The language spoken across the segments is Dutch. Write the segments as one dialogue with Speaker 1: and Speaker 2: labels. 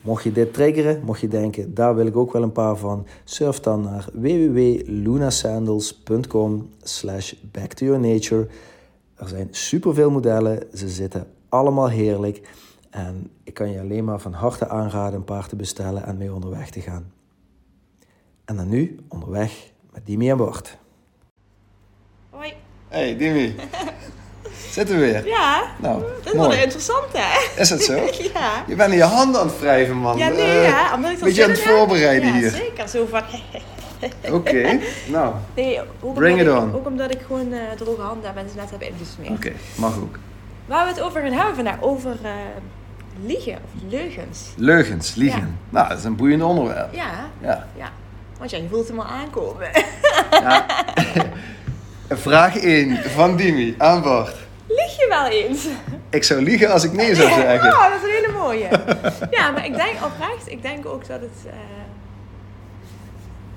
Speaker 1: mocht je dit triggeren, mocht je denken, daar wil ik ook wel een paar van, surf dan naar www.lunasandals.com slash back to your nature er zijn superveel modellen. Ze zitten allemaal heerlijk. En ik kan je alleen maar van harte aanraden een paar te bestellen en mee onderweg te gaan. En dan nu onderweg met Dimi aan boord.
Speaker 2: Hoi.
Speaker 1: Hey Dimi, zitten we weer.
Speaker 2: Ja,
Speaker 1: Nou,
Speaker 2: dat is wel
Speaker 1: mooi.
Speaker 2: interessant hè?
Speaker 1: Is het zo?
Speaker 2: Ja.
Speaker 1: Je bent in je handen aan het wrijven man.
Speaker 2: Ja, nee,
Speaker 1: Eh,
Speaker 2: ja. Omdat ik dat
Speaker 1: beetje
Speaker 2: zin
Speaker 1: aan het
Speaker 2: in heb.
Speaker 1: voorbereiden
Speaker 2: ja,
Speaker 1: hier.
Speaker 2: zeker. Zo van...
Speaker 1: Oké, nou,
Speaker 2: Nee, ook
Speaker 1: Bring
Speaker 2: omdat ik,
Speaker 1: it on.
Speaker 2: Ook omdat ik gewoon eh, droge handen heb en ze net hebben ingesmeerd.
Speaker 1: oké, mag ook.
Speaker 2: Waar we het over gaan hebben vandaag, over eh, liegen of leugens.
Speaker 1: Leugens, liegen. Nou, dat is een boeiend onderwerp.
Speaker 2: Ja,
Speaker 1: Ja.
Speaker 2: ja. Want ja, je voelt hem al aankomen.
Speaker 1: ja. Vraag 1 van Dimi aan boord.
Speaker 2: Lieg je wel eens?
Speaker 1: Ik zou liegen als ik nee zou zeggen.
Speaker 2: Oh, dat is een hele mooie. ja, maar ik denk oprecht, ik denk ook dat het... eh,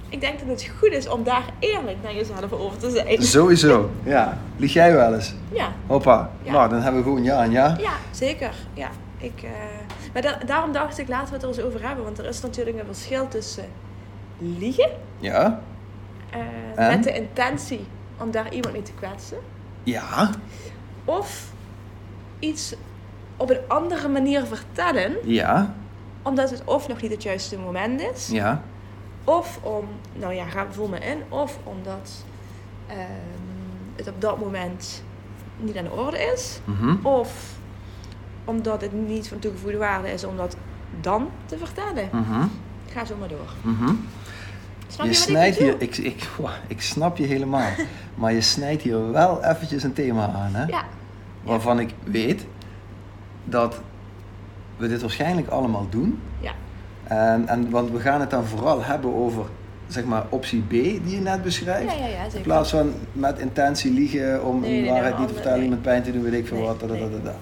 Speaker 2: ik denk dat het goed is om daar eerlijk naar jezelf over te zijn.
Speaker 1: Sowieso, ja. Lieg jij wel eens?
Speaker 2: Ja,
Speaker 1: Hoppa,
Speaker 2: Ja.
Speaker 1: nou dan hebben we gewoon ja en ja.
Speaker 2: ja, zeker. Ja, ik, eh, maar da- daarom dacht ik, laten we het er eens over hebben. Want er is natuurlijk een verschil tussen liegen...
Speaker 1: Ja.
Speaker 2: eh,
Speaker 1: En?
Speaker 2: met de intentie om daar iemand mee te kwetsen.
Speaker 1: Ja.
Speaker 2: Of iets op een andere manier vertellen,
Speaker 1: Ja.
Speaker 2: omdat het of nog niet het juiste moment is,
Speaker 1: Ja.
Speaker 2: of om, nou ja, ga voel me in, of omdat ehm, het op dat moment niet aan de orde is,
Speaker 1: Mhm.
Speaker 2: of omdat het niet van toegevoegde waarde is om dat dan te vertellen.
Speaker 1: Mhm.
Speaker 2: Ga zo maar door.
Speaker 1: Mhm.
Speaker 2: Snap
Speaker 1: Je
Speaker 2: je, wat
Speaker 1: snijdt
Speaker 2: ik bedoel?
Speaker 1: hier, ik, ik, wow, ik snap je helemaal, maar je snijdt hier wel eventjes een thema aan, hè?
Speaker 2: Ja,
Speaker 1: waarvan ik weet dat we dit waarschijnlijk allemaal doen.
Speaker 2: ja,
Speaker 1: En, en, want we gaan het dan vooral hebben over zeg maar, optie B die je net beschrijft.
Speaker 2: ja, ja, ja
Speaker 1: In
Speaker 2: zeker.
Speaker 1: plaats van met intentie liegen om
Speaker 2: Nee, nee,
Speaker 1: een
Speaker 2: nee,
Speaker 1: waarheid niet te
Speaker 2: ander-
Speaker 1: vertellen,
Speaker 2: nee.
Speaker 1: iemand pijn te doen, weet ik veel
Speaker 2: Nee,
Speaker 1: wat. Da, da, da, da, da.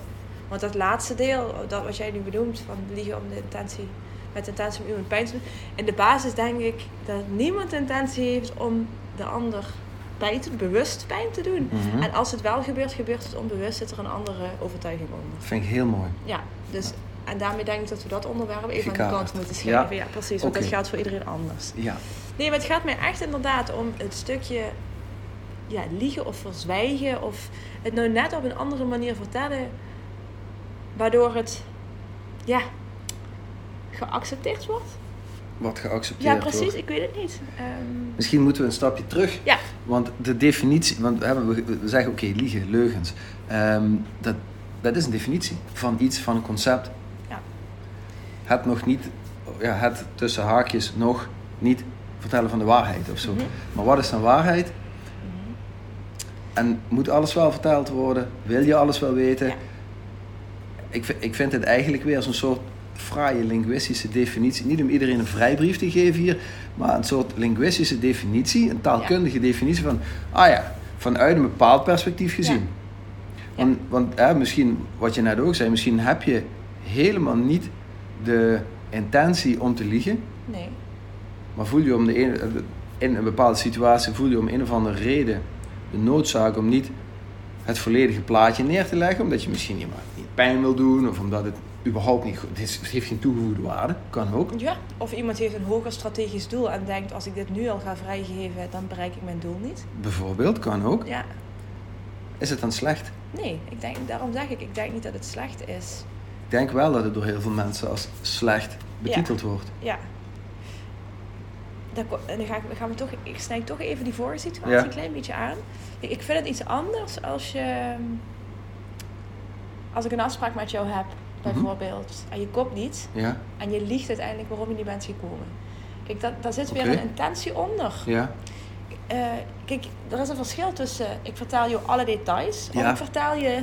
Speaker 2: Want dat laatste deel, dat wat jij nu benoemt, van liegen om de intentie, met de intentie om iemand pijn te doen. In de basis denk ik dat niemand de intentie heeft om de ander pijn te, bewust pijn te doen.
Speaker 1: Mhm.
Speaker 2: En als het wel gebeurt, gebeurt het onbewust, zit er een andere overtuiging onder.
Speaker 1: Dat vind ik heel mooi.
Speaker 2: Ja, dus, en daarmee denk ik dat we dat onderwerp even aan de
Speaker 1: Gekaderd.
Speaker 2: kant moeten schuiven. Ja, precies, want dat
Speaker 1: Oké.
Speaker 2: geldt voor iedereen anders.
Speaker 1: Ja.
Speaker 2: Nee, maar het gaat mij echt inderdaad om het stukje ja, liegen of verzwijgen. Of het nou net op een andere manier vertellen. Waardoor het ja, geaccepteerd wordt.
Speaker 1: Wat geaccepteerd
Speaker 2: Ja, precies.
Speaker 1: wordt.
Speaker 2: Ik weet het niet. Ehm,
Speaker 1: Misschien moeten we een stapje terug.
Speaker 2: ja,
Speaker 1: Want de definitie, want we, hebben, we zeggen oké, liegen, leugens. Ehm, dat, dat is een definitie van iets, van een concept.
Speaker 2: Ja.
Speaker 1: Het nog niet, ja, het tussen haakjes nog niet vertellen van de waarheid of zo.
Speaker 2: Mhm.
Speaker 1: Maar wat is dan waarheid? En moet alles wel verteld worden? Wil je alles wel weten?
Speaker 2: Ja.
Speaker 1: Ik, vi- ik vind het eigenlijk weer zo'n soort fraaie linguïstische definitie. Niet om iedereen een vrijbrief te geven hier, maar een soort linguïstische definitie, een taalkundige definitie van, ah ja, vanuit een bepaald perspectief gezien.
Speaker 2: Ja.
Speaker 1: Want, want hè, misschien, wat je net ook zei, misschien heb je helemaal niet de intentie om te liegen,
Speaker 2: nee.
Speaker 1: maar voel je om de een, in een bepaalde situatie voel je om een of andere reden de noodzaak om niet het volledige plaatje neer te leggen, omdat je misschien iemand niet pijn wil doen of omdat het überhaupt niet goed is. Het heeft geen toegevoegde waarde, kan ook.
Speaker 2: Ja, of iemand heeft een hoger strategisch doel en denkt als ik dit nu al ga vrijgeven, dan bereik ik mijn doel niet.
Speaker 1: Bijvoorbeeld, kan ook.
Speaker 2: Ja,
Speaker 1: Is het dan slecht?
Speaker 2: nee, ik denk, daarom zeg ik, ik denk niet dat het slecht is.
Speaker 1: Ik denk wel dat het door heel veel mensen als slecht betiteld wordt.
Speaker 2: Ja. Daar ko- en dan ga ik, gaan we toch, ik snijd toch even die vorige situatie
Speaker 1: Ja.
Speaker 2: een klein beetje aan. Ik ik vind het iets anders als je... ehm, Als ik een afspraak met jou heb,
Speaker 1: Mhm.
Speaker 2: bijvoorbeeld, en je koopt niet...
Speaker 1: Ja,
Speaker 2: en je liegt uiteindelijk waarom je niet bent gekomen. Kijk, dat, daar zit
Speaker 1: Oké.
Speaker 2: weer een intentie onder.
Speaker 1: ja,
Speaker 2: Eh, kijk, er is een verschil tussen ik vertel je alle details...
Speaker 1: Ja.
Speaker 2: of ik vertel je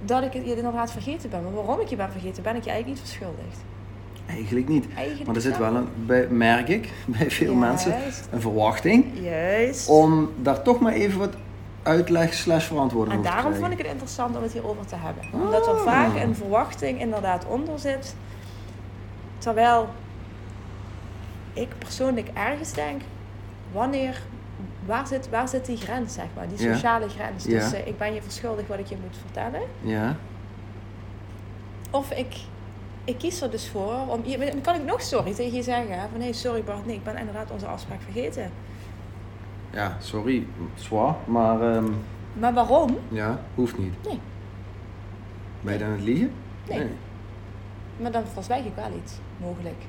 Speaker 2: dat ik het- je inderdaad vergeten ben. Maar waarom ik je ben vergeten, ben ik je eigenlijk niet verschuldigd.
Speaker 1: eigenlijk niet.
Speaker 2: Eigenlijk
Speaker 1: Maar er zit
Speaker 2: wel.
Speaker 1: wel, een, bij, merk ik, bij veel mensen
Speaker 2: Juist.
Speaker 1: een verwachting
Speaker 2: Juist.
Speaker 1: om daar toch maar even wat uitleg slash verantwoording
Speaker 2: En
Speaker 1: over te
Speaker 2: Ah, daarom vond
Speaker 1: krijgen.
Speaker 2: ik het interessant om het hierover te hebben. Omdat
Speaker 1: Oh.
Speaker 2: er vaak een verwachting inderdaad onder zit. Terwijl ik persoonlijk ergens denk, wanneer, waar zit, waar zit die grens, zeg maar? Die
Speaker 1: Ja.
Speaker 2: sociale grens
Speaker 1: Ja.
Speaker 2: tussen ik ben je verschuldigd wat ik je moet vertellen.
Speaker 1: Ja,
Speaker 2: Of ik, ik kies er dus voor om... je- Dan kan ik nog sorry tegen je zeggen. hè, Van, hé, sorry Bart, nee, ik ben inderdaad onze afspraak vergeten.
Speaker 1: ja sorry, zwaar, maar ehm,
Speaker 2: Maar waarom?
Speaker 1: ja, hoeft niet.
Speaker 2: Nee.
Speaker 1: Ben je dan aan het liegen?
Speaker 2: Nee. Maar dan verzwijg ik wel iets, mogelijk.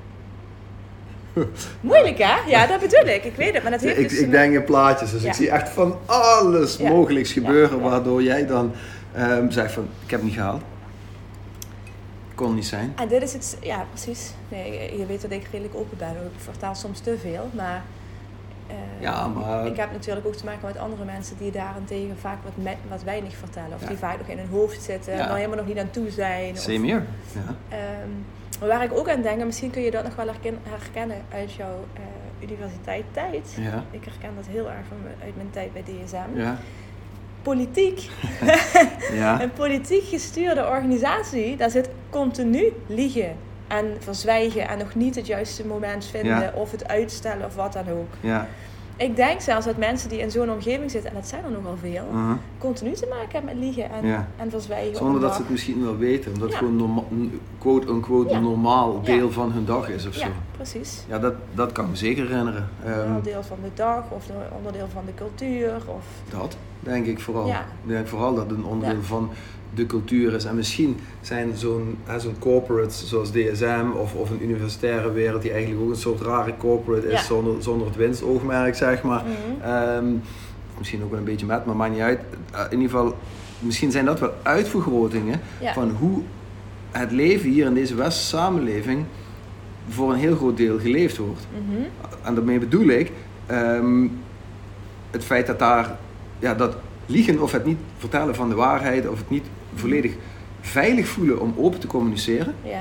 Speaker 2: Moeilijk hè? Ja, dat bedoel ik. Ik weet het, maar dat heeft
Speaker 1: Ik,
Speaker 2: dus...
Speaker 1: ik denk in plaatjes, dus
Speaker 2: Ja.
Speaker 1: ik zie echt van alles
Speaker 2: Ja.
Speaker 1: mogelijks
Speaker 2: Ja.
Speaker 1: gebeuren,
Speaker 2: Ja.
Speaker 1: waardoor jij dan ehm, zegt van, ik heb het niet gehaald. Kon niet zijn.
Speaker 2: En dit is het... Ja, precies. Nee, je weet dat ik redelijk open ben. Ik vertaal soms te veel, maar... eh,
Speaker 1: Ja, maar-
Speaker 2: Ik heb natuurlijk ook te maken met andere mensen die daarentegen vaak wat, me- wat weinig vertellen. Of
Speaker 1: Ja.
Speaker 2: die vaak nog in hun hoofd zitten,
Speaker 1: Ja.
Speaker 2: maar helemaal nog niet aan toe zijn. of-
Speaker 1: Same here. Ja.
Speaker 2: Ehm, maar waar ik ook aan denk, en misschien kun je dat nog wel herken- herkennen uit jouw eh, universiteit tijd.
Speaker 1: Ja.
Speaker 2: Ik herken dat heel erg van mijn- uit mijn tijd bij DSM.
Speaker 1: Ja.
Speaker 2: Politiek
Speaker 1: Ja.
Speaker 2: Een politiek gestuurde organisatie, daar zit continu liegen en verzwijgen en nog niet het juiste moment vinden
Speaker 1: Ja.
Speaker 2: of het uitstellen of wat dan ook.
Speaker 1: Ja.
Speaker 2: Ik denk zelfs dat mensen die in zo'n omgeving zitten, en dat zijn er nogal veel,
Speaker 1: Mhm.
Speaker 2: continu te maken hebben met liegen en,
Speaker 1: Ja.
Speaker 2: en verzwijgen.
Speaker 1: Zonder dat
Speaker 2: omdat-
Speaker 1: ze het misschien wel weten, omdat het
Speaker 2: Ja.
Speaker 1: gewoon norma- een quote-unquote
Speaker 2: Ja.
Speaker 1: normaal
Speaker 2: Ja.
Speaker 1: deel van hun dag is of zo.
Speaker 2: Ja, precies.
Speaker 1: Ja, dat, dat kan ik me zeker herinneren. Ehm,
Speaker 2: onderdeel van de dag of een onderdeel van de cultuur. Of...
Speaker 1: Dat denk ik vooral.
Speaker 2: Ja.
Speaker 1: Ik denk vooral dat het een onderdeel
Speaker 2: Ja.
Speaker 1: van de cultuur is. En misschien zijn zo'n hè, zo'n corporate zoals DSM of, of een universitaire wereld, die eigenlijk ook een soort rare corporate is
Speaker 2: Ja. Mm.
Speaker 1: zonder, zonder het winstoogmerk, zeg maar.
Speaker 2: Mhm,
Speaker 1: Ehm, misschien ook wel een beetje met, maar maakt niet uit. Eh, in ieder geval, misschien zijn dat wel uitvergrotingen
Speaker 2: Ja.
Speaker 1: van hoe het leven hier in deze westerse samenleving voor een heel groot deel geleefd wordt.
Speaker 2: Mhm.
Speaker 1: En daarmee bedoel ik ehm, het feit dat daar ja, dat liegen of het niet vertellen van de waarheid of het niet volledig veilig voelen om open te communiceren,
Speaker 2: Ja,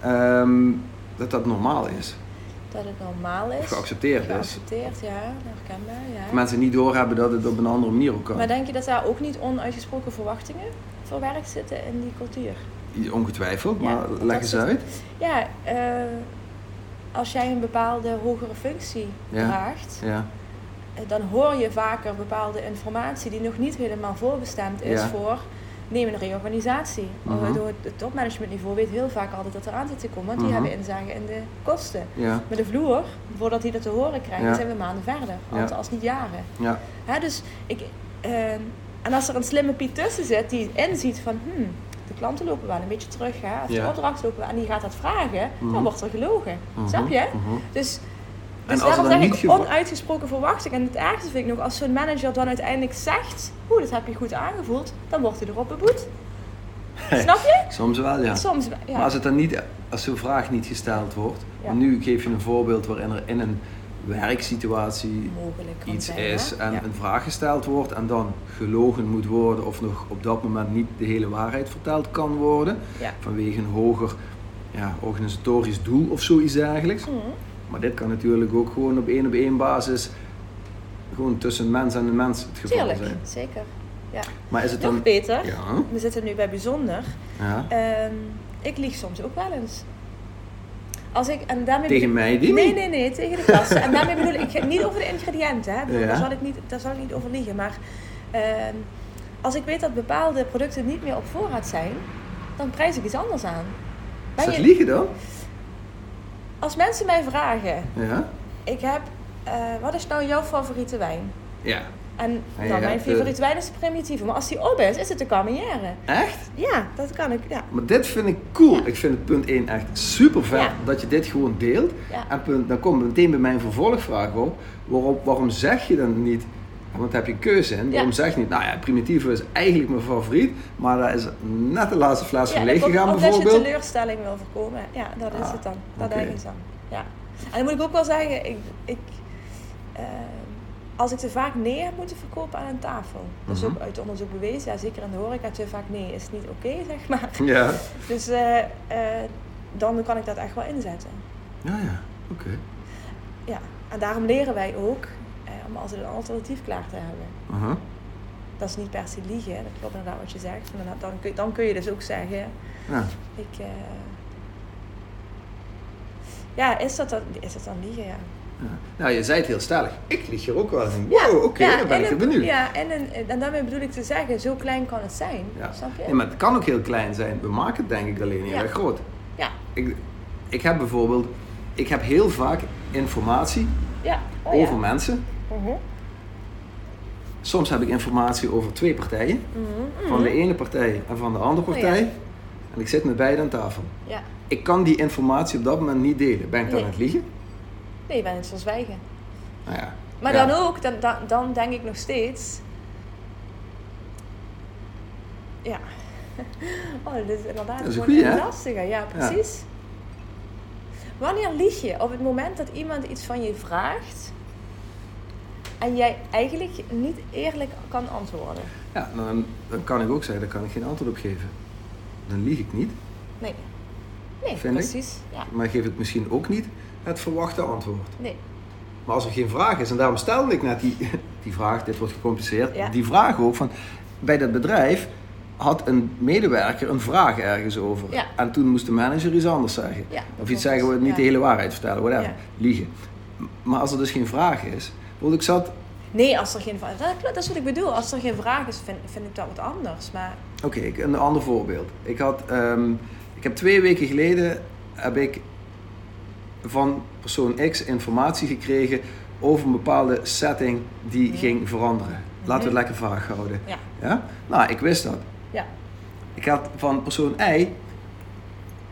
Speaker 1: ehm, dat dat normaal is,
Speaker 2: dat het normaal is.
Speaker 1: of geaccepteerd is.
Speaker 2: Geaccepteerd, ja, herkenbaar.
Speaker 1: Dat
Speaker 2: Ja.
Speaker 1: Mensen niet doorhebben dat het op een andere manier ook kan.
Speaker 2: Maar denk je dat daar ook niet onuitgesproken verwachtingen verwerkt zitten in die cultuur?
Speaker 1: Ongetwijfeld,
Speaker 2: Ja,
Speaker 1: maar
Speaker 2: dat
Speaker 1: leg eens
Speaker 2: zit-
Speaker 1: uit.
Speaker 2: Ja, eh, als jij een bepaalde hogere functie
Speaker 1: Ja.
Speaker 2: draagt,
Speaker 1: Ja,
Speaker 2: eh, dan hoor je vaker bepaalde informatie die nog niet helemaal voorbestemd is
Speaker 1: Ja.
Speaker 2: voor. Neem een reorganisatie.
Speaker 1: Mhm.
Speaker 2: Waardoor het- Het topmanagementniveau weet heel vaak altijd dat er aan zit te komen, want die
Speaker 1: Mhm.
Speaker 2: hebben inzage in de kosten.
Speaker 1: ja,
Speaker 2: Met de vloer, voordat hij dat te horen krijgt,
Speaker 1: Ja.
Speaker 2: zijn we maanden verder.
Speaker 1: Ja.
Speaker 2: Als, als niet jaren.
Speaker 1: ja,
Speaker 2: Hè, dus ik, eh, en als er een slimme Piet tussen zit die inziet van... Hmm, de klanten lopen wel een beetje terug, hè? of
Speaker 1: Ja.
Speaker 2: de opdracht lopen wel, en die gaat dat vragen,
Speaker 1: Mhm.
Speaker 2: dan wordt er gelogen. Snap
Speaker 1: mhm,
Speaker 2: je?
Speaker 1: mhm.
Speaker 2: Dus,
Speaker 1: En
Speaker 2: dus
Speaker 1: als er
Speaker 2: daarom
Speaker 1: dan
Speaker 2: zeg
Speaker 1: niet
Speaker 2: ik
Speaker 1: geva-
Speaker 2: onuitgesproken verwachting. En het ergste vind ik nog, als zo'n manager dan uiteindelijk zegt... Oeh, dat heb je goed aangevoeld, dan wordt hij erop beboet. Snap je?
Speaker 1: Soms wel, ja.
Speaker 2: Soms, ja.
Speaker 1: Maar als, het dan niet, als zo'n vraag niet gesteld wordt,
Speaker 2: Ja.
Speaker 1: want nu geef je een voorbeeld waarin er in een werksituatie
Speaker 2: mogelijk kan
Speaker 1: iets
Speaker 2: zijn,
Speaker 1: is
Speaker 2: hè?
Speaker 1: en
Speaker 2: Ja.
Speaker 1: een vraag gesteld wordt en dan gelogen moet worden of nog op dat moment niet de hele waarheid verteld kan worden
Speaker 2: Ja.
Speaker 1: vanwege een hoger ja, organisatorisch doel of zoiets dergelijks.
Speaker 2: Mhm.
Speaker 1: Maar dit kan natuurlijk ook gewoon op één op één basis gewoon tussen mens en mens het geval
Speaker 2: Tuurlijk,
Speaker 1: zijn.
Speaker 2: zeker. Ja.
Speaker 1: Maar is het
Speaker 2: Nog
Speaker 1: dan...
Speaker 2: beter,
Speaker 1: Ja,
Speaker 2: we zitten nu bij bijzonder...
Speaker 1: ja.
Speaker 2: Ehm, ik lieg soms ook wel eens. Als ik, en daarmee
Speaker 1: Tegen
Speaker 2: bedoel-
Speaker 1: mij die
Speaker 2: Nee,
Speaker 1: niet.
Speaker 2: nee, nee, tegen de klas. en daarmee bedoel ik, ik ga niet over de ingrediënten, hè. Ik bedoel,
Speaker 1: Ja.
Speaker 2: Daar, zal ik niet, daar zal ik niet over liegen. Maar ehm, als ik weet dat bepaalde producten niet meer op voorraad zijn, dan prijs ik iets anders aan.
Speaker 1: Is
Speaker 2: Ben
Speaker 1: dat
Speaker 2: je-
Speaker 1: liegen dan?
Speaker 2: als mensen mij vragen,
Speaker 1: Ja.
Speaker 2: ik heb, eh, wat is nou jouw favoriete wijn?
Speaker 1: Ja.
Speaker 2: En
Speaker 1: En je
Speaker 2: nou, mijn
Speaker 1: hebt, eh,
Speaker 2: favoriete wijn is de primitieve, maar als die op is, is het de cameriere.
Speaker 1: Echt?
Speaker 2: Ja, dat kan ik, ja.
Speaker 1: Maar dit vind ik cool. Ik vind het punt 1 echt super vet
Speaker 2: Ja.
Speaker 1: dat je dit gewoon deelt.
Speaker 2: Ja.
Speaker 1: En punt, dan komt meteen bij mijn vervolgvraag op. Waarop, waarom zeg je dan niet, want daar heb je keuze in, waarom zeg je niet, nou ja, Primitivo is eigenlijk mijn favoriet, maar daar is net de laatste fles
Speaker 2: ja
Speaker 1: van
Speaker 2: dat
Speaker 1: leeg
Speaker 2: komt
Speaker 1: gegaan
Speaker 2: omdat je
Speaker 1: bijvoorbeeld.
Speaker 2: teleurstelling wil voorkomen. Ja, dat is
Speaker 1: Ah,
Speaker 2: het dan. Dat
Speaker 1: oké.
Speaker 2: denk ik dan. Ja. En dan moet ik ook wel zeggen, ik, ik, eh, als ik te vaak nee heb moeten verkopen aan een tafel. Dat is
Speaker 1: Mhm.
Speaker 2: ook uit onderzoek bewezen. Ja, zeker in de horeca, te vaak nee is niet oké, zeg maar.
Speaker 1: Ja,
Speaker 2: Dus eh, eh, dan kan ik dat echt wel inzetten.
Speaker 1: ja, ja. oké.
Speaker 2: Ja, en daarom leren wij ook eh, om altijd een alternatief klaar te hebben.
Speaker 1: Aha.
Speaker 2: Dat is niet per se liegen, hè. dat klopt inderdaad wat je zegt. Maar dan kun, dan kun je dus ook zeggen,
Speaker 1: Ja.
Speaker 2: ik... eh, Ja, is dat, dan, is dat dan liegen, ja.
Speaker 1: Ja. Nou, je zei het heel stellig. Ik lieg hier ook wel in. Wow, Oh, oké,
Speaker 2: Ja,
Speaker 1: dan ben
Speaker 2: en
Speaker 1: ik er
Speaker 2: een-
Speaker 1: benieuwd.
Speaker 2: Ja, en, een- en daarmee bedoel ik te zeggen, zo klein kan het zijn.
Speaker 1: Ja.
Speaker 2: Snap je?
Speaker 1: Nee, maar het kan ook heel klein zijn. We maken het denk ik alleen heel
Speaker 2: Ja.
Speaker 1: erg groot.
Speaker 2: Ja,
Speaker 1: Ik, ik heb bijvoorbeeld, ik heb heel vaak informatie
Speaker 2: ja. Oh,
Speaker 1: over
Speaker 2: ja.
Speaker 1: mensen.
Speaker 2: Mhm.
Speaker 1: Soms heb ik informatie over twee partijen.
Speaker 2: Mhm.
Speaker 1: Van de ene partij en van de andere
Speaker 2: Oh, ja.
Speaker 1: partij. En ik zit met beide aan tafel.
Speaker 2: Ja.
Speaker 1: Ik kan die informatie op dat moment niet delen. Ben ik dan
Speaker 2: Nee.
Speaker 1: aan het liegen?
Speaker 2: Nee, je bent het verzwijgen.
Speaker 1: Nou ja.
Speaker 2: Maar
Speaker 1: Ja.
Speaker 2: dan ook, dan, dan, dan denk ik nog steeds. Ja. Oh, dit is inderdaad
Speaker 1: Dat is een
Speaker 2: gewoon
Speaker 1: goeie,
Speaker 2: een
Speaker 1: hè?
Speaker 2: lastige. Ja, precies. Wanneer lieg je? Op het moment dat iemand iets van je vraagt en jij eigenlijk niet eerlijk kan antwoorden.
Speaker 1: Ja, dan, dan kan ik ook zeggen, daar kan ik geen antwoord op geven. Dan lieg ik niet,
Speaker 2: Nee. Nee,
Speaker 1: Vind ik.
Speaker 2: precies. Ja.
Speaker 1: maar geef ik misschien ook niet het verwachte antwoord.
Speaker 2: Nee.
Speaker 1: Maar als er geen vraag is, en daarom stelde ik net die, die vraag, dit wordt gecompliceerd,
Speaker 2: Ja.
Speaker 1: die vraag ook van, bij dat bedrijf had een medewerker een vraag ergens over.
Speaker 2: Ja.
Speaker 1: En toen moest de manager iets anders zeggen.
Speaker 2: Ja, dat
Speaker 1: of
Speaker 2: klopt.
Speaker 1: iets zeggen, we niet
Speaker 2: Ja.
Speaker 1: de hele waarheid vertellen, whatever.
Speaker 2: Ja.
Speaker 1: Liegen. M- Maar als er dus geen vraag is, want ik zat,
Speaker 2: Nee, als er geen vraag dat, klopt, dat is wat ik bedoel. Als er geen vraag is, vind, vind ik dat wat anders. Maar
Speaker 1: oké, ik- een ander voorbeeld. Ik had, ehm, ik heb twee weken geleden, heb ik van persoon X informatie gekregen over een bepaalde setting die ging veranderen. Laten we het lekker vaag houden.
Speaker 2: ja,
Speaker 1: Ja? Nou, ik wist dat.
Speaker 2: ja.
Speaker 1: Ik had van persoon Y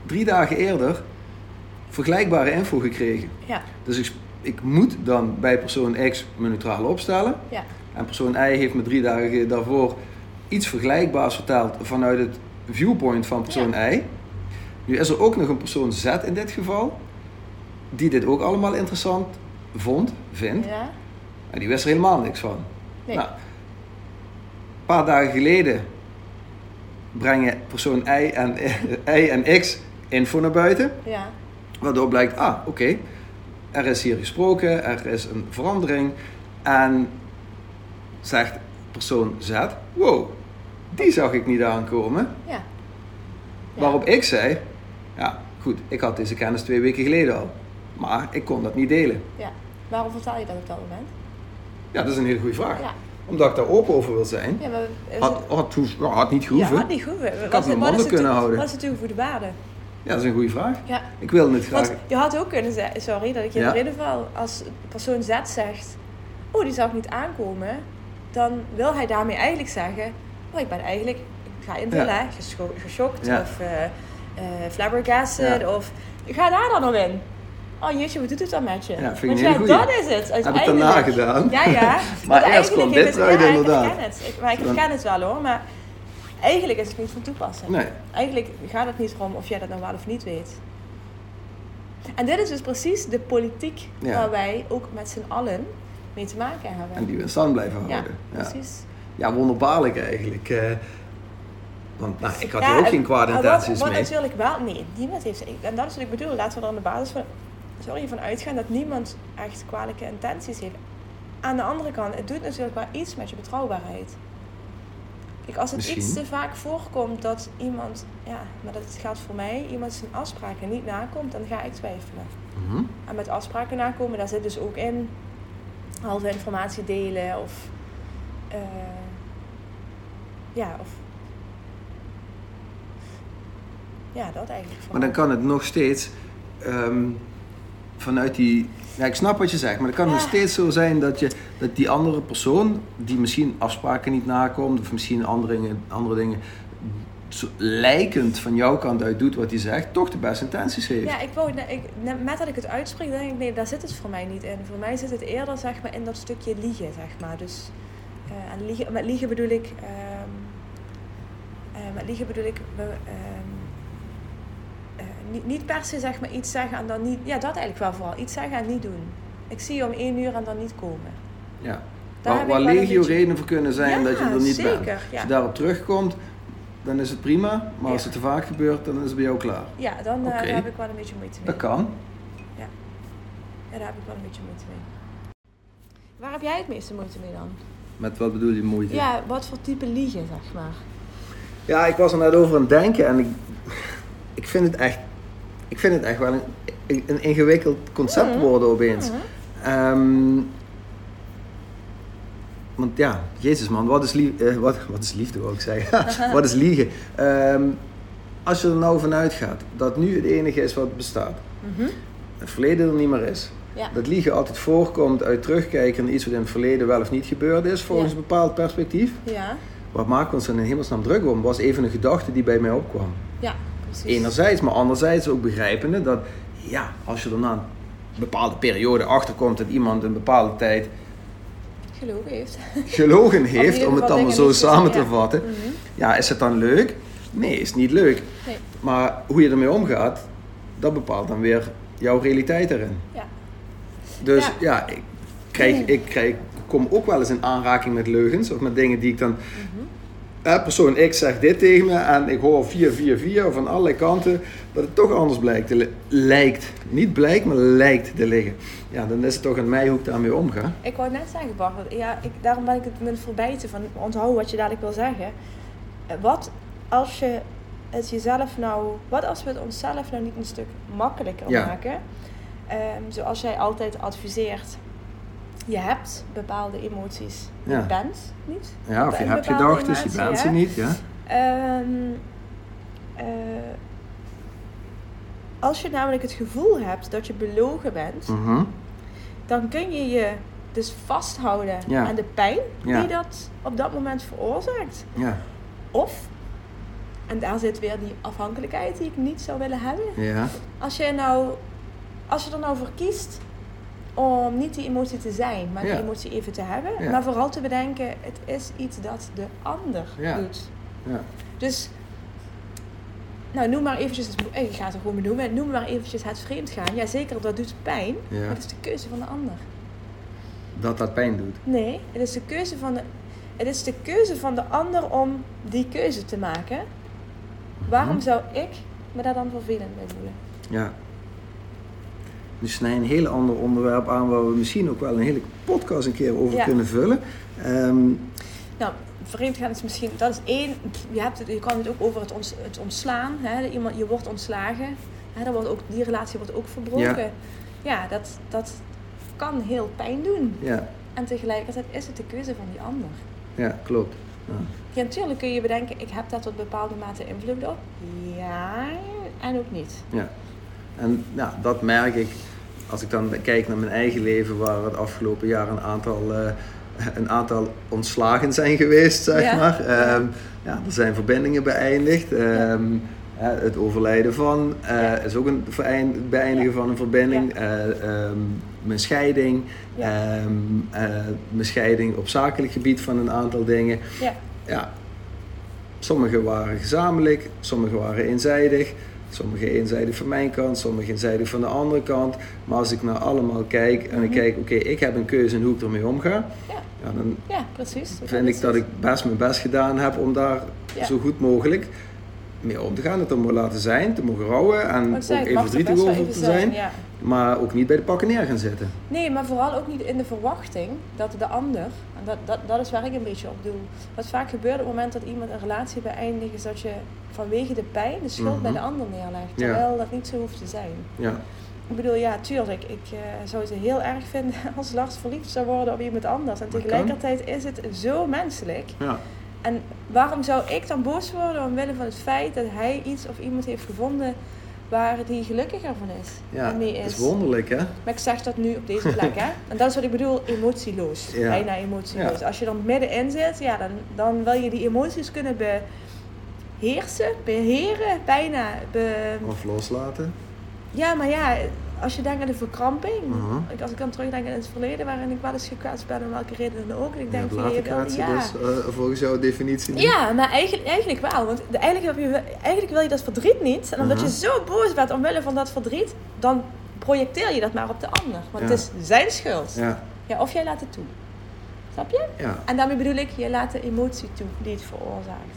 Speaker 1: drie dagen eerder vergelijkbare info gekregen.
Speaker 2: Ja,
Speaker 1: Dus ik, ik moet dan bij persoon X mijn neutrale opstellen.
Speaker 2: ja,
Speaker 1: En persoon Y heeft me drie dagen daarvoor iets vergelijkbaars verteld vanuit het viewpoint van persoon Y. Nu is er ook nog een persoon Z in dit geval, die dit ook allemaal interessant vond, vindt.
Speaker 2: ja.
Speaker 1: En die wist er helemaal niks van.
Speaker 2: Nee.
Speaker 1: Nou, een paar dagen geleden brengen persoon Y en, y en X info naar buiten.
Speaker 2: Ja,
Speaker 1: Waardoor blijkt, ah oké, er is hier gesproken, er is een verandering. En zegt persoon Z, wow, die zag ik niet aankomen.
Speaker 2: ja. Ja.
Speaker 1: Waarop ik zei, ja goed, ik had deze kennis twee weken geleden al. Maar ik kon dat niet delen.
Speaker 2: Ja. Waarom vertel je dat op dat moment?
Speaker 1: Ja, dat is een hele goede vraag.
Speaker 2: Ja.
Speaker 1: Omdat ik daar open over wil zijn.
Speaker 2: Ja, maar...
Speaker 1: Had, had, hoef- nou, had niet
Speaker 2: ja,
Speaker 1: gehoeven. Ja,
Speaker 2: had niet goed. Ik
Speaker 1: mijn handen kunnen houden.
Speaker 2: Wat is natuurlijk voor de waarde?
Speaker 1: dat is een goede vraag.
Speaker 2: Ja.
Speaker 1: Ik wil het graag.
Speaker 2: Want je had ook kunnen zeggen... Sorry dat ik je
Speaker 1: Ja.
Speaker 2: erin val. Als persoon Z zegt... Oh, die zou ik niet aankomen. Dan wil hij daarmee eigenlijk zeggen... Oh, ik ben eigenlijk... Ik ga invullen,
Speaker 1: Ja.
Speaker 2: hè. gescho- Geschokt.
Speaker 1: Ja.
Speaker 2: Of eh eh, flabbergasted.
Speaker 1: Ja.
Speaker 2: Of... Ga daar dan op in. Oh jeetje, wat doet het dan met je?
Speaker 1: vind ik
Speaker 2: Want
Speaker 1: een hele goeie.
Speaker 2: dat is het.
Speaker 1: Heb ik daarna gedaan.
Speaker 2: Ja, ja.
Speaker 1: Maar
Speaker 2: Want
Speaker 1: eerst
Speaker 2: eigenlijk
Speaker 1: kwam dit
Speaker 2: is-
Speaker 1: eruit,
Speaker 2: ja, Ik
Speaker 1: inderdaad.
Speaker 2: herken het. Ik, maar ik
Speaker 1: Dan-
Speaker 2: herken het wel hoor. Maar eigenlijk is het niet van toepassing.
Speaker 1: Nee,
Speaker 2: Eigenlijk gaat het niet erom of jij dat nou wel of niet weet. En dit is dus precies de politiek
Speaker 1: Ja.
Speaker 2: waar wij ook met z'n allen mee te maken hebben.
Speaker 1: en die we in stand blijven
Speaker 2: ja,
Speaker 1: houden. Ja, ja.
Speaker 2: precies.
Speaker 1: wonderbaarlijk eigenlijk. eh. want nou, ik had
Speaker 2: Ja,
Speaker 1: hier ook
Speaker 2: en-
Speaker 1: geen kwade
Speaker 2: maar
Speaker 1: intenties
Speaker 2: wat, wat
Speaker 1: mee.
Speaker 2: natuurlijk wel, nee, niemand heeft. En dat is wat ik bedoel, laten we er aan de basis van, sorry, van uitgaan dat niemand echt kwalijke intenties heeft. Aan de andere kant, het doet natuurlijk wel iets met je betrouwbaarheid. Kijk, als het iets
Speaker 1: Misschien.
Speaker 2: te vaak voorkomt dat iemand, ja, maar dat geldt voor mij, iemand zijn afspraken niet nakomt, dan ga ik twijfelen.
Speaker 1: Mhm.
Speaker 2: En met afspraken nakomen, daar zit dus ook in halve informatie delen of eh, Ja, of... Ja, dat eigenlijk.
Speaker 1: Maar dan kan het nog steeds ehm, vanuit die. Ja, ik snap wat je zegt, maar het kan nog
Speaker 2: Ja.
Speaker 1: steeds zo zijn dat, je, dat die andere persoon, die misschien afspraken niet nakomt, of misschien andere dingen, andere dingen zo, lijkend van jouw kant uit doet wat hij zegt, toch de beste intenties heeft.
Speaker 2: Ja, ik wou, ik, net met dat ik het uitspreek, denk ik, nee, daar zit het voor mij niet in. Voor mij zit het eerder zeg maar, in dat stukje liegen, zeg maar. Dus eh, en liegen, met liegen bedoel ik... ehm, eh, met liegen bedoel ik... we, ehm, eh, niet, niet per se zeg maar, iets zeggen en dan niet... Ja, dat eigenlijk wel vooral. Iets zeggen en niet doen. Ik zie je om één uur en dan niet komen.
Speaker 1: Ja.
Speaker 2: Daar
Speaker 1: Waar,
Speaker 2: heb
Speaker 1: waar
Speaker 2: ik wel een
Speaker 1: legio
Speaker 2: beetje-
Speaker 1: redenen voor kunnen zijn
Speaker 2: Ja,
Speaker 1: dat je er niet
Speaker 2: zeker,
Speaker 1: bent. Als
Speaker 2: ja.
Speaker 1: je daarop terugkomt, dan is het prima, maar als
Speaker 2: Ja.
Speaker 1: het te vaak gebeurt, dan is het bij jou klaar.
Speaker 2: Ja, dan eh,
Speaker 1: Oké.
Speaker 2: daar heb ik wel een beetje moeite mee.
Speaker 1: Dat kan.
Speaker 2: Ja, daar heb ik wel een beetje moeite mee. Waar heb jij het meeste moeite mee dan?
Speaker 1: Met wat bedoel je moeite?
Speaker 2: Ja, wat voor type liegen, zeg maar.
Speaker 1: Ja, ik was er net over aan het denken en ik, ik, vind, het echt, ik vind het echt wel een, een ingewikkeld concept
Speaker 2: Mhm.
Speaker 1: worden opeens.
Speaker 2: Mhm.
Speaker 1: Ehm, want ja, jezus man, wat is, lief, eh, wat, wat is liefde wou ik zeggen? wat is liegen? Ehm, als je er nou vanuit gaat dat nu het enige is wat bestaat,
Speaker 2: Mhm.
Speaker 1: het verleden er niet meer is.
Speaker 2: Ja.
Speaker 1: Dat liegen altijd voorkomt uit terugkijken naar iets wat in het verleden wel of niet gebeurd is, volgens
Speaker 2: Ja.
Speaker 1: een bepaald perspectief.
Speaker 2: Ja,
Speaker 1: Wat maken we ons dan in hemelsnaam druk om? Was even een gedachte die bij mij opkwam.
Speaker 2: ja, precies.
Speaker 1: Enerzijds, maar anderzijds ook begrijpende dat ja, als je er na een bepaalde periode achterkomt dat iemand een bepaalde tijd
Speaker 2: Gelogen heeft.
Speaker 1: gelogen
Speaker 2: in
Speaker 1: heeft,
Speaker 2: ieder
Speaker 1: om het
Speaker 2: geval
Speaker 1: allemaal
Speaker 2: dingen
Speaker 1: zo
Speaker 2: niet
Speaker 1: samen te
Speaker 2: gezegd, ja.
Speaker 1: vatten,
Speaker 2: Mhm.
Speaker 1: ja, is het dan leuk? Nee, is niet leuk.
Speaker 2: Nee,
Speaker 1: Maar hoe je ermee omgaat, dat bepaalt dan weer jouw realiteit erin.
Speaker 2: ja.
Speaker 1: Dus ja,
Speaker 2: Ja. Mm.
Speaker 1: ik, krijg, ik krijg, kom ook wel eens in aanraking met leugens of met dingen die ik dan.
Speaker 2: Mhm.
Speaker 1: Eh, persoon X zegt dit tegen me en ik hoor 444 van allerlei kanten dat het toch anders blijkt. te li- Lijkt. Niet blijkt, maar lijkt te liggen. Ja, dan is het toch aan mij hoe ik daarmee omga.
Speaker 2: Ik wou net zeggen, Bart, want ja, ik, daarom ben ik het met verbijten van onthoud wat je dadelijk wil zeggen. Eh, Wat als je het jezelf nou, wat als we het onszelf nou niet een stuk makkelijker
Speaker 1: Ja.
Speaker 2: maken? Ehm, zoals jij altijd adviseert, je hebt bepaalde emoties,
Speaker 1: Ja.
Speaker 2: je bent niet.
Speaker 1: Ja, of je
Speaker 2: Een
Speaker 1: hebt
Speaker 2: bepaalde
Speaker 1: gedachten, je
Speaker 2: emotie, hè?
Speaker 1: bent ze niet. Ja.
Speaker 2: Ehm, eh, als je namelijk het gevoel hebt dat je belogen bent,
Speaker 1: Mhm.
Speaker 2: dan kun je je dus vasthouden
Speaker 1: Ja.
Speaker 2: aan de pijn
Speaker 1: Ja.
Speaker 2: die dat op dat moment veroorzaakt.
Speaker 1: ja.
Speaker 2: Of, en daar zit weer die afhankelijkheid die ik niet zou willen hebben.
Speaker 1: ja.
Speaker 2: Als je, nou, als je er nou voor kiest om niet die emotie te zijn, maar
Speaker 1: Ja.
Speaker 2: die emotie even te hebben,
Speaker 1: Ja.
Speaker 2: maar vooral te bedenken, het is iets dat de ander
Speaker 1: Ja.
Speaker 2: doet.
Speaker 1: Ja.
Speaker 2: Dus, nou noem maar eventjes, het, eh, ik ga het er gewoon benoemen, noem maar eventjes het vreemd gaan. Ja zeker, dat doet pijn,
Speaker 1: Ja.
Speaker 2: maar het is de keuze van de ander.
Speaker 1: Dat dat pijn doet.
Speaker 2: Nee, het is de keuze van de, het is de, keuze van de ander om die keuze te maken. Waarom zou ik me daar dan vervelend mee voelen?
Speaker 1: Ja. Dus snij een heel ander onderwerp aan waar we misschien ook wel een hele podcast een keer over
Speaker 2: Ja.
Speaker 1: kunnen vullen. Ehm,
Speaker 2: Nou, vreemd gaan is misschien, dat is één, je, hebt het, je kan het ook over het, ons, het ontslaan, hè? Iemand, je wordt ontslagen, hè? Dan wordt ook, die relatie wordt ook verbroken. Ja, dat, dat kan heel pijn doen.
Speaker 1: ja,
Speaker 2: En tegelijkertijd is het de keuze van die ander.
Speaker 1: ja, klopt. Ja.
Speaker 2: Ja, natuurlijk kun je bedenken, ik heb daar tot bepaalde mate invloed op. Ja, en ook niet.
Speaker 1: Ja. En nou, dat merk ik als ik dan kijk naar mijn eigen leven, waar het afgelopen jaar een aantal, eh, een aantal ontslagen zijn geweest, zeg
Speaker 2: Ja.
Speaker 1: maar. Ehm, ja, er zijn verbindingen beëindigd. Ehm, hè, het overlijden van eh,
Speaker 2: Ja.
Speaker 1: is ook een verein- het beëindigen van een verbinding. Eh, ehm, mijn scheiding.
Speaker 2: Ja.
Speaker 1: ehm, eh, mijn scheiding op zakelijk gebied van een aantal dingen.
Speaker 2: Ja,
Speaker 1: Ja, sommige waren gezamenlijk, sommige waren eenzijdig. Sommige eenzijdig van mijn kant, sommige eenzijdig van de andere kant. Maar als ik naar allemaal kijk en ik
Speaker 2: Mhm.
Speaker 1: kijk, oké, ik heb een keuze in hoe ik ermee omga.
Speaker 2: Ja.
Speaker 1: Ja, dan
Speaker 2: ja precies.
Speaker 1: vind ik dat ik best mijn best gedaan heb om daar
Speaker 2: Ja.
Speaker 1: zo goed mogelijk mee om te gaan. Het er mogen laten zijn, te mogen rouwen en
Speaker 2: Wat ik
Speaker 1: ook
Speaker 2: zei, het
Speaker 1: even
Speaker 2: mag er
Speaker 1: verdrietig
Speaker 2: best wel
Speaker 1: over te
Speaker 2: even
Speaker 1: zijn.
Speaker 2: ja.
Speaker 1: Maar ook niet bij de pakken neer gaan zitten.
Speaker 2: Nee, maar vooral ook niet in de verwachting dat de ander, en dat, dat, dat is waar ik een beetje op doe. Wat vaak gebeurt op het moment dat iemand een relatie beëindigt, is dat je vanwege de pijn de schuld bij
Speaker 1: Mhm.
Speaker 2: de ander neerlegt.
Speaker 1: Ja.
Speaker 2: Terwijl dat niet zo hoeft te zijn.
Speaker 1: Ja,
Speaker 2: Ik bedoel, ja, tuurlijk. Ik eh, zou het heel erg vinden als Lars verliefd zou worden op iemand anders. En
Speaker 1: Dat kan.
Speaker 2: tegelijkertijd is het zo menselijk.
Speaker 1: ja.
Speaker 2: En En waarom zou ik dan boos worden omwille van het feit dat hij iets of iemand heeft gevonden waar hij gelukkiger van is?
Speaker 1: Ja,
Speaker 2: en mee
Speaker 1: dat is wonderlijk, hè?
Speaker 2: Maar ik zeg dat nu op deze plek, hè? En dat is wat ik bedoel, emotieloos.
Speaker 1: Ja.
Speaker 2: Bijna emotieloos. Als je dan middenin zit, ja, dan, dan wil je die emoties kunnen beheersen, beheren, bijna. Be...
Speaker 1: Of loslaten.
Speaker 2: Ja, maar ja, als je denkt aan de verkramping.
Speaker 1: Mhm.
Speaker 2: Ik- Als ik kan terugdenken in het verleden waarin ik wel eens gekwetst ben, om welke reden dan ook. En ik denk
Speaker 1: ja,
Speaker 2: van, je
Speaker 1: laten
Speaker 2: wil,
Speaker 1: kaatsen
Speaker 2: ja.
Speaker 1: dus, eh, volgens jouw definitie. niet.
Speaker 2: Ja, maar eigenlijk, eigenlijk wel. Want de- eigenlijk, heb je, eigenlijk wil je dat verdriet niet. En omdat
Speaker 1: Mhm.
Speaker 2: je zo boos bent omwille van dat verdriet, dan projecteer je dat maar op de ander. Want
Speaker 1: Ja.
Speaker 2: het is zijn schuld.
Speaker 1: Ja,
Speaker 2: Ja, of jij laat het toe. Snap je?
Speaker 1: ja.
Speaker 2: En daarmee bedoel ik, je laat de emotie toe die het veroorzaakt.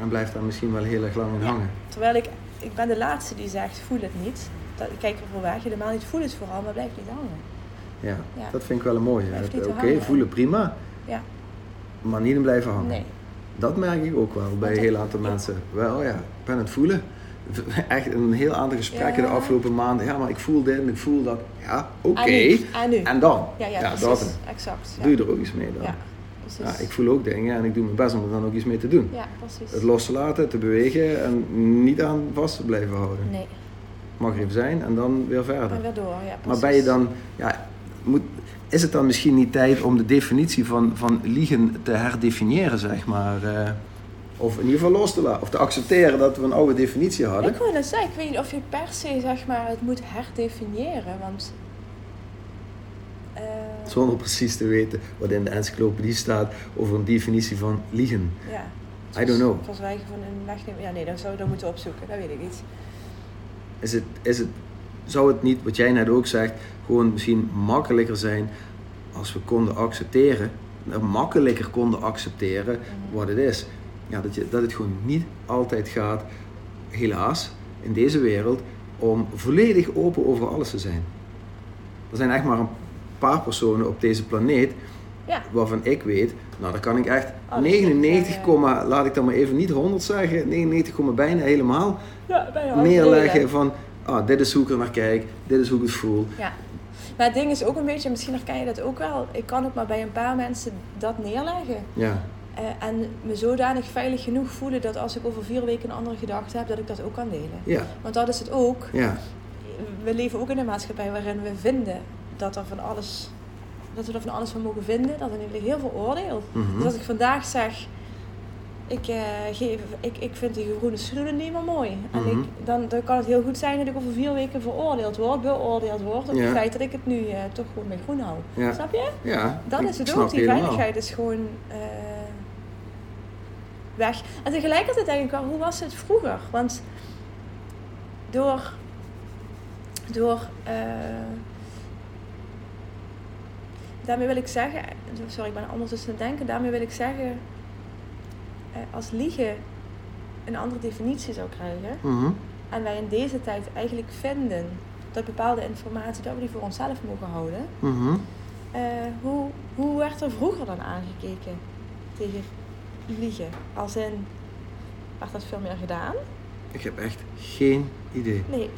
Speaker 1: En blijft daar misschien wel heel erg lang in
Speaker 2: Ja.
Speaker 1: hangen.
Speaker 2: Terwijl ik, ik ben de laatste die zegt, voel het niet. Dat, ik kijk ervoor weg, helemaal niet, voel het vooral, maar blijf niet hangen.
Speaker 1: Ja,
Speaker 2: Ja.
Speaker 1: dat vind ik wel een mooie.
Speaker 2: Blijft
Speaker 1: Het-
Speaker 2: niet
Speaker 1: Oké,
Speaker 2: te hangen.
Speaker 1: voelen prima,
Speaker 2: Ja,
Speaker 1: maar niet in blijven hangen.
Speaker 2: nee.
Speaker 1: Dat merk ik ook wel bij een
Speaker 2: dat-
Speaker 1: heel aantal
Speaker 2: ja.
Speaker 1: mensen. Wel ja, ik ben aan het voelen. Echt een heel aantal gesprekken
Speaker 2: Ja.
Speaker 1: de afgelopen maanden. Ja, maar ik voel dit en ik voel dat. Ja, oké.
Speaker 2: En nu. En nu.
Speaker 1: En dan?
Speaker 2: ja, ja, precies.
Speaker 1: dat. Dus
Speaker 2: Exact. Ja.
Speaker 1: Doe je er ook iets mee dan?
Speaker 2: Ja,
Speaker 1: Ja,
Speaker 2: precies.
Speaker 1: ik voel ook dingen en ik doe mijn best om er dan ook iets mee te doen.
Speaker 2: Ja, precies.
Speaker 1: Het los te laten, te bewegen en niet aan vast te blijven houden.
Speaker 2: Nee,
Speaker 1: Mag er even zijn en dan weer verder.
Speaker 2: maar weer door. Ja, precies.
Speaker 1: Maar ben je dan, ja, moet, is het dan misschien niet tijd om de definitie van, van liegen te herdefiniëren, zeg maar? eh? of in ieder geval los te laten, of te accepteren dat we een oude definitie hadden?
Speaker 2: Ik wou net zeggen, ik weet niet of je per se zeg maar, het moet herdefiniëren, want... eh,
Speaker 1: Zonder precies te weten wat in de encyclopedie staat over een definitie van liegen.
Speaker 2: Ja.
Speaker 1: I don't know.
Speaker 2: Verzwijgen van een wegnemen. Ja, nee, dan zouden we dat moeten opzoeken. Dat weet ik niet.
Speaker 1: Is het, is het, zou het niet, wat jij net ook zegt, gewoon misschien makkelijker zijn als we konden accepteren, eh, makkelijker konden accepteren wat het is? Ja, dat, je, dat het gewoon niet altijd gaat, helaas, in deze wereld, om volledig open over alles te zijn. Er zijn echt maar een paar personen op deze planeet
Speaker 2: Ja.
Speaker 1: waarvan ik weet, nou dan kan ik echt
Speaker 2: Alles
Speaker 1: 99,
Speaker 2: zeggen.
Speaker 1: laat ik dan maar even niet 100 zeggen, 99, komma bijna helemaal
Speaker 2: Ja, bij
Speaker 1: neerleggen van ah, dit is hoe ik er naar kijk, dit is hoe ik het voel.
Speaker 2: Ja. Maar het ding is ook een beetje, misschien herken je dat ook wel. Ik kan ook maar bij een paar mensen dat neerleggen.
Speaker 1: Ja,
Speaker 2: Eh, en me zodanig veilig genoeg voelen dat als ik over vier weken een andere gedachte heb, dat ik dat ook kan delen.
Speaker 1: ja,
Speaker 2: Want dat is het ook.
Speaker 1: ja,
Speaker 2: We leven ook in een maatschappij waarin we vinden dat, er van alles, dat we er van alles van mogen vinden. Dat er natuurlijk heel veel oordeel.
Speaker 1: Mhm.
Speaker 2: Dus als ik vandaag zeg, ik, eh, geef, ik, ik vind die groene schoenen niet meer mooi. En
Speaker 1: Mhm.
Speaker 2: ik, dan, dan kan het heel goed zijn dat ik over vier weken veroordeeld word, beoordeeld word. Op
Speaker 1: Ja.
Speaker 2: het feit dat ik het nu eh, toch gewoon met groen hou.
Speaker 1: ja.
Speaker 2: Snap je?
Speaker 1: ja.
Speaker 2: Dat
Speaker 1: ik
Speaker 2: is het
Speaker 1: snap
Speaker 2: ook. Die
Speaker 1: helemaal.
Speaker 2: veiligheid is gewoon eh, weg. En tegelijkertijd denk ik wel, hoe was het vroeger? Want door, door eh, daarmee wil ik zeggen, sorry, ik ben ondertussen aan het denken, daarmee wil ik zeggen, eh, als liegen een andere definitie zou krijgen,
Speaker 1: Mhm.
Speaker 2: en wij in deze tijd eigenlijk vinden dat bepaalde informatie, dat we die voor onszelf mogen houden,
Speaker 1: mhm.
Speaker 2: eh, hoe, hoe werd er vroeger dan aangekeken tegen liegen? Als in, werd dat veel meer gedaan?
Speaker 1: Ik heb echt geen idee.
Speaker 2: Nee.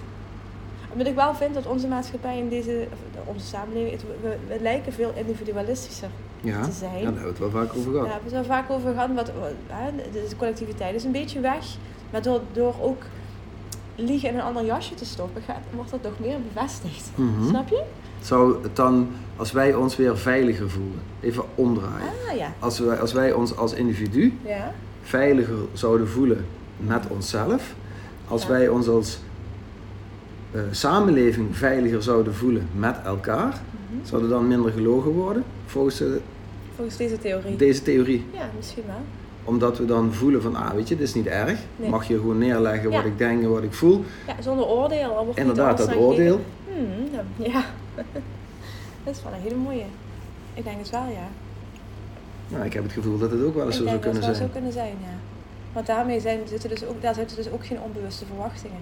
Speaker 2: Omdat ik wel vind dat onze maatschappij in deze, of onze samenleving, het- we, we lijken veel individualistischer
Speaker 1: Ja,
Speaker 2: te
Speaker 1: ja daar
Speaker 2: zijn.
Speaker 1: hebben we het wel vaak over
Speaker 2: Daar
Speaker 1: gehad.
Speaker 2: hebben we het wel vaak over gehad, wat, wat- hè, de de collectiviteit is een beetje weg. Maar door, door ook liegen in een ander jasje te stoppen, gaat, wordt dat nog meer bevestigd.
Speaker 1: Mhm.
Speaker 2: Snap je?
Speaker 1: Zou het dan, als wij ons weer veiliger voelen, even omdraaien.
Speaker 2: Ah ja.
Speaker 1: Als wij, als wij ons als individu
Speaker 2: Ja.
Speaker 1: veiliger zouden voelen met onszelf. Als
Speaker 2: Ja.
Speaker 1: wij ons als eh, samenleving veiliger zouden voelen met elkaar,
Speaker 2: Mhm.
Speaker 1: zou er dan minder gelogen worden, volgens eh,
Speaker 2: Volgens deze theorie.
Speaker 1: deze theorie.
Speaker 2: Ja, misschien wel.
Speaker 1: Omdat we dan voelen van, ah weet je, dit is niet erg.
Speaker 2: Nee.
Speaker 1: Mag je gewoon neerleggen wat
Speaker 2: Ja.
Speaker 1: ik denk en wat ik voel.
Speaker 2: Ja, zonder oordeel. al wordt niet
Speaker 1: Inderdaad,
Speaker 2: alles
Speaker 1: dat
Speaker 2: naar gekeken.
Speaker 1: oordeel.
Speaker 2: Hmm, ja. ja. dat is wel een hele mooie. Ik denk het wel, ja.
Speaker 1: Nou, ik heb het gevoel dat het ook wel eens
Speaker 2: ik
Speaker 1: zo
Speaker 2: denk
Speaker 1: zou
Speaker 2: dat het
Speaker 1: kunnen
Speaker 2: wel
Speaker 1: zijn.
Speaker 2: zo kunnen zijn, ja. Want daarmee zijn, zitten dus ook, daar zitten dus ook geen onbewuste verwachtingen.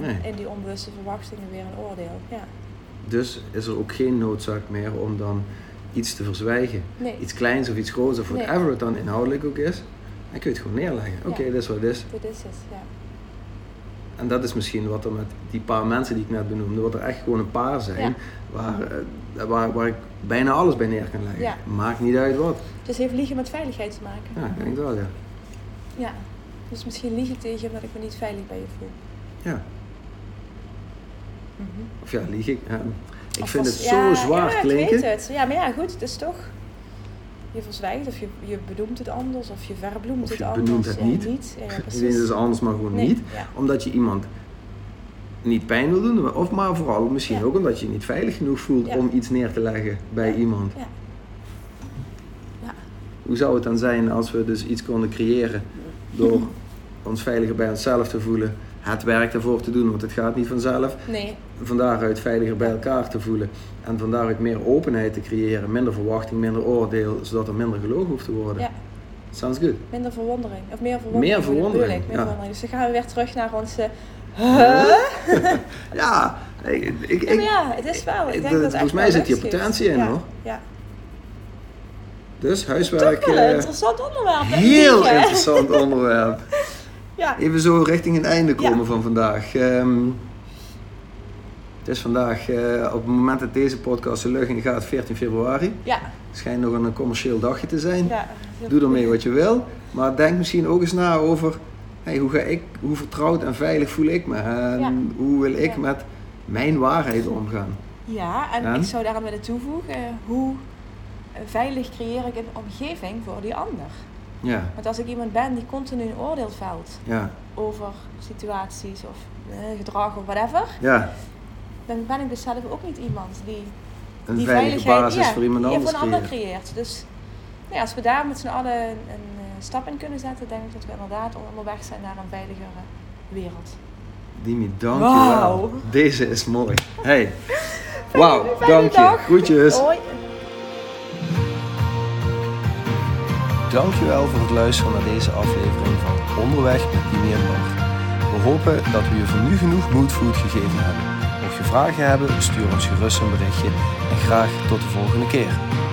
Speaker 2: En
Speaker 1: Nee.
Speaker 2: in die onbewuste verwachtingen weer een oordeel. Ja.
Speaker 1: Dus is er ook geen noodzaak meer om dan iets te verzwijgen.
Speaker 2: Nee,
Speaker 1: Iets kleins of iets groots of
Speaker 2: Nee.
Speaker 1: whatever het dan inhoudelijk ook is. Dan kun je het gewoon neerleggen. Oké,
Speaker 2: Ja.
Speaker 1: dit is wat het is.
Speaker 2: dit is het, ja.
Speaker 1: En dat is misschien wat er met die paar mensen die ik net benoemde, wat er echt gewoon een paar zijn,
Speaker 2: Ja.
Speaker 1: waar, eh, waar, waar ik bijna alles bij neer kan leggen.
Speaker 2: Ja.
Speaker 1: Maakt niet uit wat.
Speaker 2: Dus heeft liegen met veiligheid te maken.
Speaker 1: Ja, ik denk wel, ja.
Speaker 2: Ja. Dus misschien liegen tegen omdat ik me niet veilig bij je voel.
Speaker 1: ja.
Speaker 2: Mhm.
Speaker 1: Of ja, lieg ik. ja. Ik
Speaker 2: Of
Speaker 1: vind
Speaker 2: als-
Speaker 1: het
Speaker 2: ja,
Speaker 1: zo zwaar
Speaker 2: ja,
Speaker 1: klinken.
Speaker 2: Ik weet het. Ja, maar ja, goed, het is toch. Je verzwijgt of je, je bedoemt het anders of je verbloemt
Speaker 1: Of
Speaker 2: het
Speaker 1: je
Speaker 2: anders.
Speaker 1: benoemt het
Speaker 2: Ja,
Speaker 1: niet.
Speaker 2: Ja, ja,
Speaker 1: Ik
Speaker 2: precies.
Speaker 1: denk dus anders, maar gewoon
Speaker 2: Nee,
Speaker 1: niet.
Speaker 2: Ja.
Speaker 1: Omdat je iemand niet pijn wil doen, of maar vooral misschien
Speaker 2: Ja.
Speaker 1: ook omdat je je niet veilig genoeg voelt
Speaker 2: Ja.
Speaker 1: om iets neer te leggen bij
Speaker 2: Ja.
Speaker 1: iemand.
Speaker 2: Ja. Ja.
Speaker 1: Hoe zou het dan zijn als we dus iets konden creëren door ons veiliger bij onszelf te voelen, het werk daarvoor te doen, want het gaat niet vanzelf,
Speaker 2: Nee,
Speaker 1: van daaruit veiliger bij elkaar te voelen en van daaruit meer openheid te creëren, minder verwachting, minder oordeel, zodat er minder gelogen hoeft te worden.
Speaker 2: Ja.
Speaker 1: Sounds good.
Speaker 2: minder verwondering. Of meer verwondering.
Speaker 1: Meer verwondering,
Speaker 2: bedoel ik, Meer
Speaker 1: ja.
Speaker 2: verwondering. Dus dan gaan we weer terug naar onze. Huh?
Speaker 1: Ja, ik, ik,
Speaker 2: Ja, maar
Speaker 1: ik,
Speaker 2: ja, het is wel. Ik
Speaker 1: ik-
Speaker 2: denk dat het
Speaker 1: volgens
Speaker 2: echt
Speaker 1: mij
Speaker 2: wel
Speaker 1: zit hier
Speaker 2: rust geeft.
Speaker 1: potentie in,
Speaker 2: ja.
Speaker 1: hoor.
Speaker 2: Ja.
Speaker 1: dus
Speaker 2: Toch
Speaker 1: huiswerk,
Speaker 2: wel een
Speaker 1: eh,
Speaker 2: interessant onderwerp. hè,
Speaker 1: heel
Speaker 2: liegen, hè?
Speaker 1: interessant onderwerp.
Speaker 2: Ja.
Speaker 1: Even zo richting het einde
Speaker 2: Ja.
Speaker 1: komen van vandaag. Ehm, het is vandaag, eh, op het moment dat deze podcast de lucht in gaat, 14 februari.
Speaker 2: Ja.
Speaker 1: Schijnt nog een commercieel dagje te zijn.
Speaker 2: ja.
Speaker 1: Doe ermee wat je wil. Maar denk misschien ook eens na over hey, hoe, ga ik, hoe vertrouwd en veilig voel ik me. En
Speaker 2: Ja.
Speaker 1: hoe wil ik
Speaker 2: Ja.
Speaker 1: met mijn waarheid omgaan.
Speaker 2: Ja, en
Speaker 1: Ja.
Speaker 2: ik zou daaraan willen toevoegen, eh, hoe eh, veilig creëer ik een omgeving voor die ander?
Speaker 1: Ja,
Speaker 2: Want als ik iemand ben die continu een oordeel velt
Speaker 1: ja,
Speaker 2: over situaties of eh, gedrag of whatever,
Speaker 1: ja.
Speaker 2: dan ben ik dus zelf ook niet iemand die
Speaker 1: Een
Speaker 2: die
Speaker 1: veilige
Speaker 2: veiligheid
Speaker 1: basis
Speaker 2: ja,
Speaker 1: voor iemand
Speaker 2: die
Speaker 1: anders
Speaker 2: voor een ander
Speaker 1: creëren.
Speaker 2: creëert. Dus nou ja, als we daar met z'n allen een, een, eh, stap in kunnen zetten, denk ik dat we inderdaad onderweg zijn naar een veiligere wereld.
Speaker 1: Dimi, dankjewel.
Speaker 2: Wauw.
Speaker 1: Deze is mooi. Hey. Wauw,
Speaker 2: fijne
Speaker 1: Nou, dank je.
Speaker 2: dag.
Speaker 1: Groetjes.
Speaker 2: Hoi!
Speaker 1: Dankjewel voor het luisteren naar deze aflevering van Onderweg met Dimi en Bart. We hopen dat we je voor nu genoeg good food gegeven hebben. Mocht je vragen hebben, stuur ons gerust een berichtje en graag tot de volgende keer.